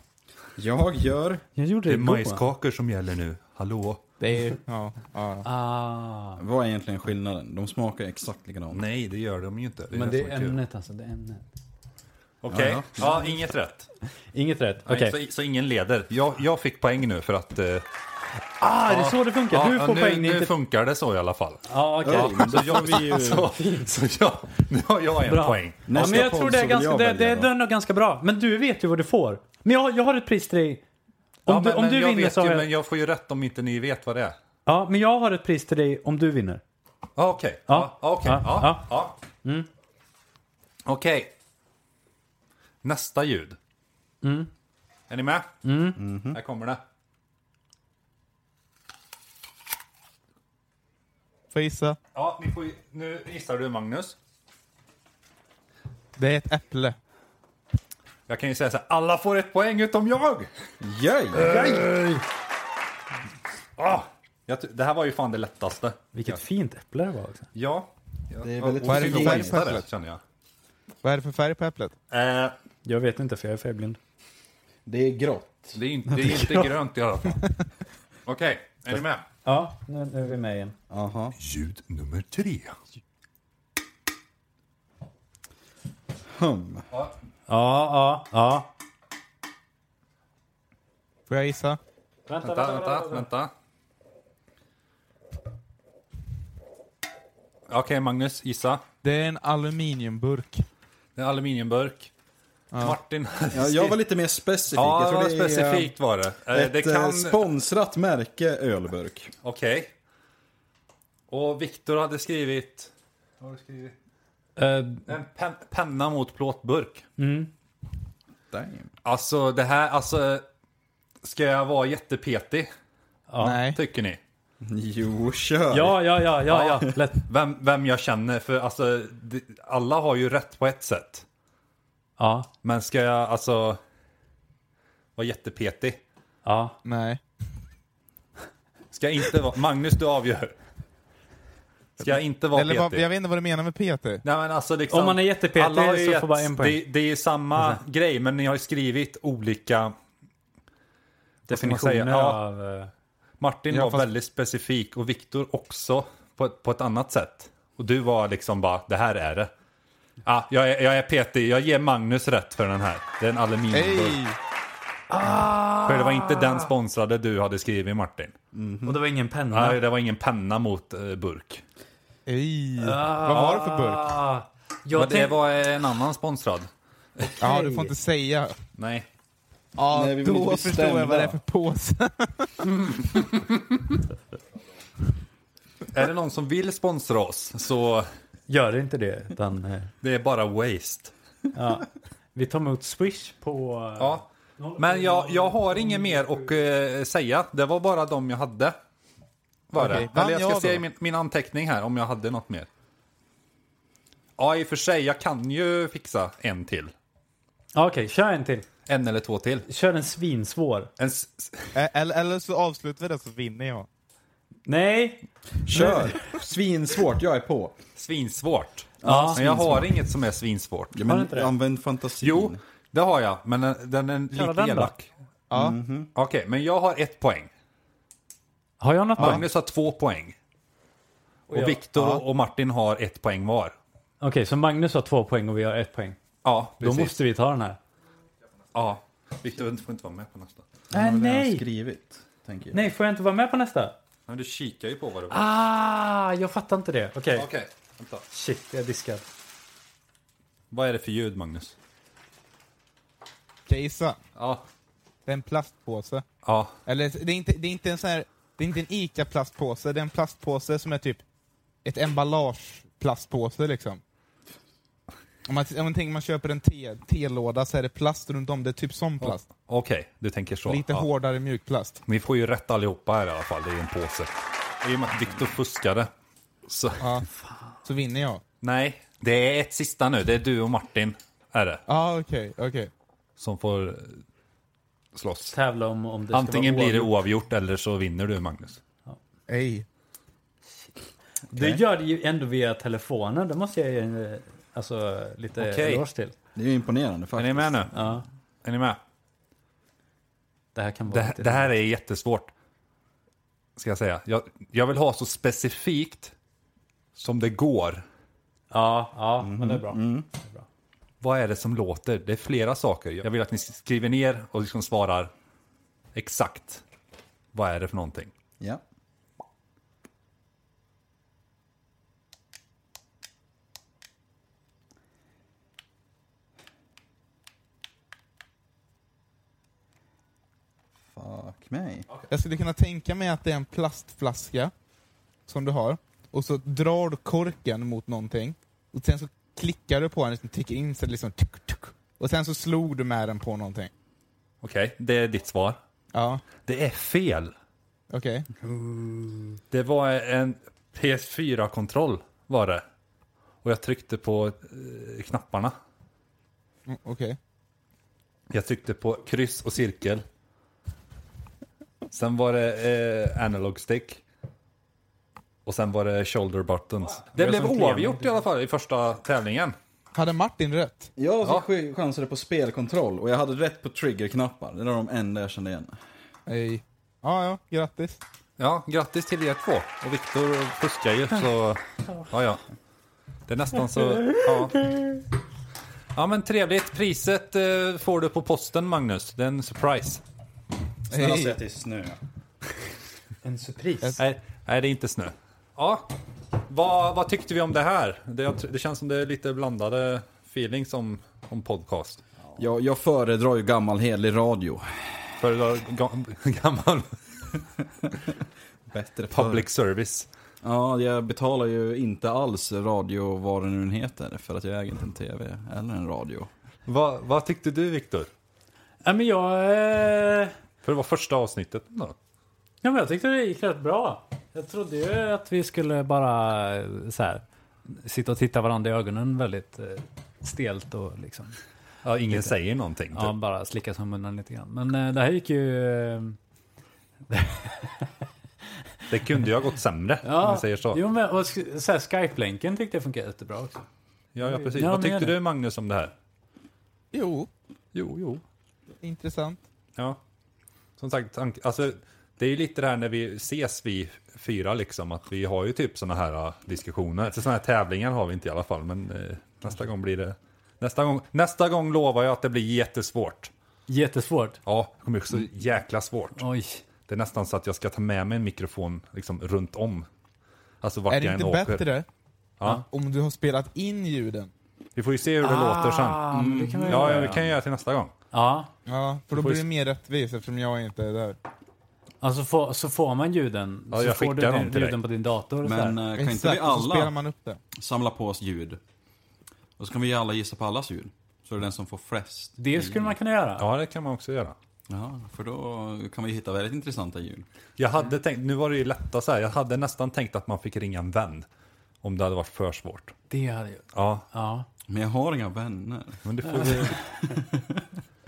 Jag gör... Jag gjorde Det är det igår. majskakor som gäller nu, hallå? Det är ja, ja. Ah, Vad är egentligen skillnaden? De smakar exakt likadant. Nej, det gör de ju inte. men det som är kul. ämnet alltså. Det är ämnet. Okej, Ja, ja, inget rätt. Inget rätt. Nej, Okej. Så, så ingen leder. Jag, jag fick poäng nu för att... eh, Ah, det är så det funkar. ja, du får nu, poäng. Nu Nu, inte... funkar det så i alla fall. Ja, okej. Oj, men då Så jag, får vi ju... så, så jag, nu har jag en Bra. poäng. Ja, men jag podd tror så det är, vill ganska, jag det, välja det, då. det är nog ganska bra. Men du vet ju vad du får. Men jag, jag har ett pris till dig. Om Ja, du, men, om men du jag vinner vet så har ju, jag... Men jag får ju rätt om inte ni vet vad det är. Ja, men jag har ett pris till dig om du vinner. Ja, okej. Ja. Ja, okej. Ja, Ja, ja. Mm. ja. Okej. Nästa ljud. Mm. Är ni med? Mm-hmm. Mm-hmm. Här kommer det. Får jag gissa? Ja, ni får, ju- nu gissar du Magnus. Det är ett äpple. Jag kan ju säga så här, alla får ett poäng utom jag! Yay! Ah, jag ty- det här var ju fan det lättaste. Vilket fint äpple det var också. Ja. ja. Det är väldigt och, och synd att fint. missa det, känner jag. Vad är det för färg på äpplet? Eh, Jag vet inte för jag är färgblind. Det är grått. det är ju inte, det är ju inte grönt i alla fall. Okej, är ni med? Ja, nu, nu är vi med igen. Aha. Ljud nummer tre. Hum. Ja, ja, ja. Får jag gissa? Vänta, Vänta, vänta, vänta. Okej, Magnus, gissa. Det är en aluminiumburk. Det är aluminiumburk. Martin Ja, jag var lite mer specifik. Ja, jag det var tror det är specifikt var det. eh, Eh, ett det eh, kan... sponsrat märke ölburk. Okej. Och Viktor hade skrivit... Vad har du skrivit? Eh, En pen, penna mot plåtburk. Damn. Alltså det här, alltså... Ska jag vara jättepetig, Nej. tycker ni? Jo, kör. Ja, ja, ja, ja, ja. Lätt. Vem, vem jag känner, för alltså... det- Alla har ju rätt på ett sätt. Ja, Men ska jag alltså vara jättepetig? ja. Nej. Ska jag inte vara... Magnus, du avgör. Ska jag inte vara Eller petig? vad, jag vet inte vad du menar med PT. Nej, men alltså, liksom, Om man är jättepetig alla har ju så gett- får bara en poäng. Det, det är ju samma grej, men ni har ju skrivit olika... Definitioner säga? Ja. av... eh, Martin Ja, var fast- väldigt specifik och Viktor också på, ett- på ett annat sätt. Och du var liksom bara, det här är det. Ah, jag, är, jag är petig, jag ger Magnus rätt för den här. Det är en aluminiumburk. Hej! För det var inte den sponsrade du hade skrivit Martin. Och det var ingen penna. Nej, det var ingen penna mot eh, burk. Hej! Vad var det för burk? Ah, Men jag det tänk... var en annan sponsrad. Ja, du får inte säga. Nej. Ja, Nej, vi vill då inte bli förstår jag vad det är för påse. Är det någon som vill sponsra oss så Gör inte det, utan eh, det är bara waste. vi tar emot Swish på... eh, Ja. Men jag, jag har inget mer att eh, säga. Det var bara de jag hade. Var Okej, det. vann Eller jag ska jag se då? i min, min anteckning här om jag hade något mer. Ja, i och för sig, jag kan ju fixa en till. Okej, kör en till. En eller två till. Kör en svinsvår. En s- s- Eh, Eller, eller så avslutar vi det så vinner jag. Nej! Kör. Svinsvårt, jag är på. svinsvårt. Ja, Men jag har inget som är svinsvårt. Ja, Har du inte det? använd fantasin. Jo, det har jag, men den, den är Köra lite den då. elak. Ja. Okej, men jag har ett poäng. Har jag något poäng? Magnus har två poäng. Och Viktor och Martin har ett poäng var. Okej, så Magnus har två poäng och vi har ett poäng. Ja, Då måste vi ta den här. Ja. Viktor får inte vara med på nästa. Nej, Nej. Äh, nej! skrivit, tänker jag. Nej, får jag inte vara med på nästa? Men du kikar ju på vad det var. Ah, jag fattar inte det. Okej. Okej, vänta. Shit, jag är diskad. Vad är det för ljud, Magnus? Kan jag gissa? Ja. Det är en plastpåse. Ja. Eller det är inte, det är inte en sån här, det är inte en ICA-plastpåse, det är en plastpåse som är typ ett emballage-plastpåse liksom. Om man, om man tänker man köper en te- telåda så är det plast runt om, det är typ som plast. Okej, du tänker så. Lite ja. hårdare mjukplast. Ni får ju rätt allihopa här i alla fall, det är en påse. I och med att Viktor fuskade. Så. Ja. Så vinner jag. Nej, det är ett sista nu. Det är du och Martin, är det, Ja, ah, okej, okej. som får eh, slåss. Tävla om, om det Antingen ska vara blir det oavgjort eller så vinner du, Magnus. Ej. Du gör det ju ändå via telefonen. Det måste jag ge eh, alltså, lite Okej. eloge till. Det är ju imponerande Är faktiskt. ni med nu? Ja, Är ni med? det här kan vara Det, lite- det här är jättesvårt. Ska jag säga. Jag, jag vill ha så specifikt som det går. Ja, ja men Mm, det är bra. Vad är det som låter? Det är flera saker. Jag vill att ni skriver ner och liksom svarar exakt. Vad är det för någonting? Ja. Fuck mig. Jag skulle kunna tänka mig att det är en plastflaska som du har, och så drar du korken mot någonting, och sen så klickar du på den, liksom trycker in så det liksom tuk, tuk. Och sen så slog du med den på någonting. Okej, det är ditt svar. Ja, Det är fel. okej. Det var en PS4-kontroll var det. Och jag tryckte på eh, knapparna. Mm, Okej. Jag tryckte på kryss och cirkel. Sen var det eh, analog stick. Och sen var det shoulder buttons. Det blev oavgjort i alla fall i första tävlingen. Hade Martin rätt? Jag ja. sk- chansade på spelkontroll och jag hade rätt på triggerknappar. Det var de enda jag kände igen. Ej. Ja, ja, grattis. Ja, grattis till er två. Och Viktor fuskar ju så... Ja, ja. Det är nästan så... Ja. Ja men trevligt. Priset eh, får du på posten Magnus. Det är en surprise. Snälla Ej. säg att det är snö. En surpris. Nej, nej det är inte snö. Ja, vad, vad tyckte vi om det här? Det, jag tr- det känns som det är lite blandade feelings om, om podcast. Jag, jag föredrar ju gammal hederlig radio. Föredrar ga- gammal Bättre förr. public service. Ja, jag betalar ju inte alls radio, vad den nu heter, för att jag äger inte en TV eller en radio. Vad, vad tyckte du Viktor? Ja, men jag, eh, För det var första avsnittet. Då. ja, men jag tyckte det gick rätt bra. Jag trodde ju att vi skulle bara eh, så här, sitta och titta varandra i ögonen väldigt eh, stelt och liksom. Ja, ingen säger någonting. Typ. Ja, bara slicka som munnen lite grann. Men eh, det här gick ju... Eh, Det kunde ju ha gått sämre om vi säger så. Jo, men, och, sk- så här, Skype-länken tyckte jag funkade jättebra också. Ja, ja, precis. Ja, vad men tyckte är det? du Magnus om det här? Jo, Jo, jo. intressant. Ja. Som sagt, tank- alltså, det är ju lite det här när vi ses vi fyra liksom, att vi har ju typ sådana här ah, diskussioner. Så sådana här tävlingar har vi inte i alla fall, men eh, nästa gång blir det... Nästa gång, nästa gång lovar jag att det blir jättesvårt. Jättesvårt. Ja, det kommer bli så jäkla svårt. Oj. Det är nästan så att jag ska ta med mig en mikrofon liksom runt om. Alltså vart Är det jag inte än åker. bättre Ja. om du har spelat in ljuden? Vi får ju se hur det låter sen. Ah, men det kan man ju Ja, göra. ja, det kan jag göra till nästa gång. ja. Ja, för då får blir ju- det mer rättvist eftersom jag inte är där. Alltså få, så får man ljuden. Ja, så jag får du skickar dem till dig. ljuden på din dator. och så Men här. eh, kan inte vi så spelar alla man upp det. samla på oss ljud? Och så kan vi alla gissa på allas ljud. Så är det den som får flest. det skulle man kunna göra. Ja, det kan man också göra. Ja, för då kan vi hitta väldigt intressanta ljud. Jag Mm. hade tänkt, nu var det ju lätta så här, jag hade nästan tänkt att man fick ringa en vän. Om det hade varit för svårt. Det hade jag. Ja, Ja. Men jag har inga vänner. men det får vi...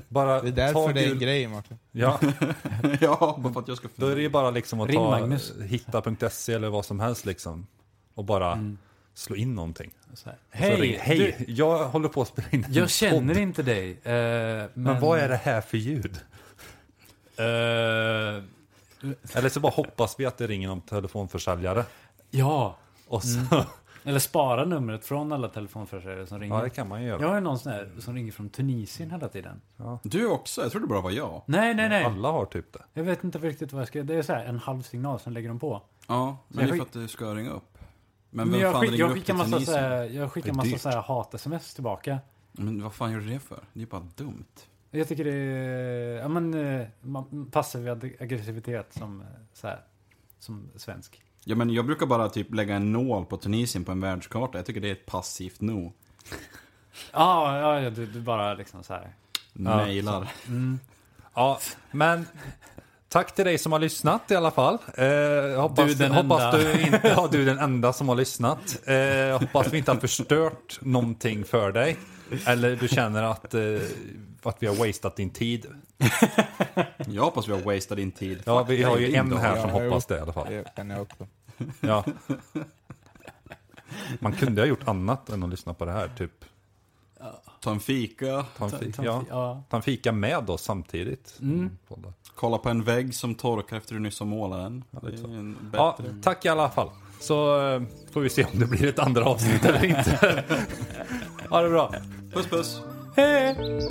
Bara Det är ta därför det är en gul- grej, Martin. Ja, ja, bara för att jag ska då är det ju bara liksom att Ring ta Magnus. hitta.se E eller vad som helst liksom. Och bara slå in någonting. Så här. så ring, Mm. Hej, hej Du, jag håller på att spela in en jag känner Mm. podd. inte dig. eh, men, Men vad är det här för ljud? eh, Eller så bara hoppas vi att det ringer någon telefonförsäljare. Ja, Och så, eller spara numret från alla telefonförsäljare som ringer. Ja, det kan man ju göra. Jag har ju någon sån här som ringer från Tunisien hela tiden. Du också? Jag trodde bara det var jag. Nej, nej, nej. Alla har typ det. Jag vet inte riktigt vad jag ska... Det är så här en halv signal, sen lägger de på. Ja, Jag men det är skick- för att du ska ringa upp. Men Men vem jag, fan skick, ringer jag upp skickar till massa, Tunisien? så här, jag skickar Det är massa dyrt. så här hat-sms tillbaka. Men vad fan gör du det för? Det är bara dumt. Jag tycker det är... Ja, men, eh, man- passiv ag- aggressivitet som, eh, så här, som svensk. Ja, men jag brukar bara typ lägga en nål på Tunisien på en världskarta. Jag tycker det är ett passivt no. Ja, ja, ja du, du bara liksom så här. Mailar. Ja, men tack till dig som har lyssnat i alla fall. Eh, hoppas, Du den hoppas enda. du inte, ja, du är den enda som har lyssnat. Eh, hoppas vi inte har förstört någonting för dig. Eller du känner att, eh, att vi har wasted din tid. Jag hoppas vi har wasted din tid. Ja, vi har ju det är en inte här jag. som hoppas det i alla fall. Det kan jag också. Ja. Man kunde ha gjort annat än att lyssna på det här, typ. Ta en fika, Ta en fika, ja. Ja. Ta en fika med oss samtidigt. Mm. kolla på en vägg som torkar efter du nyss har målat den. Det är en bättre. Ja, tack i alla fall. Så eh, får vi se om det blir ett andra avsnitt eller inte. ha det bra. Puss puss! Hej!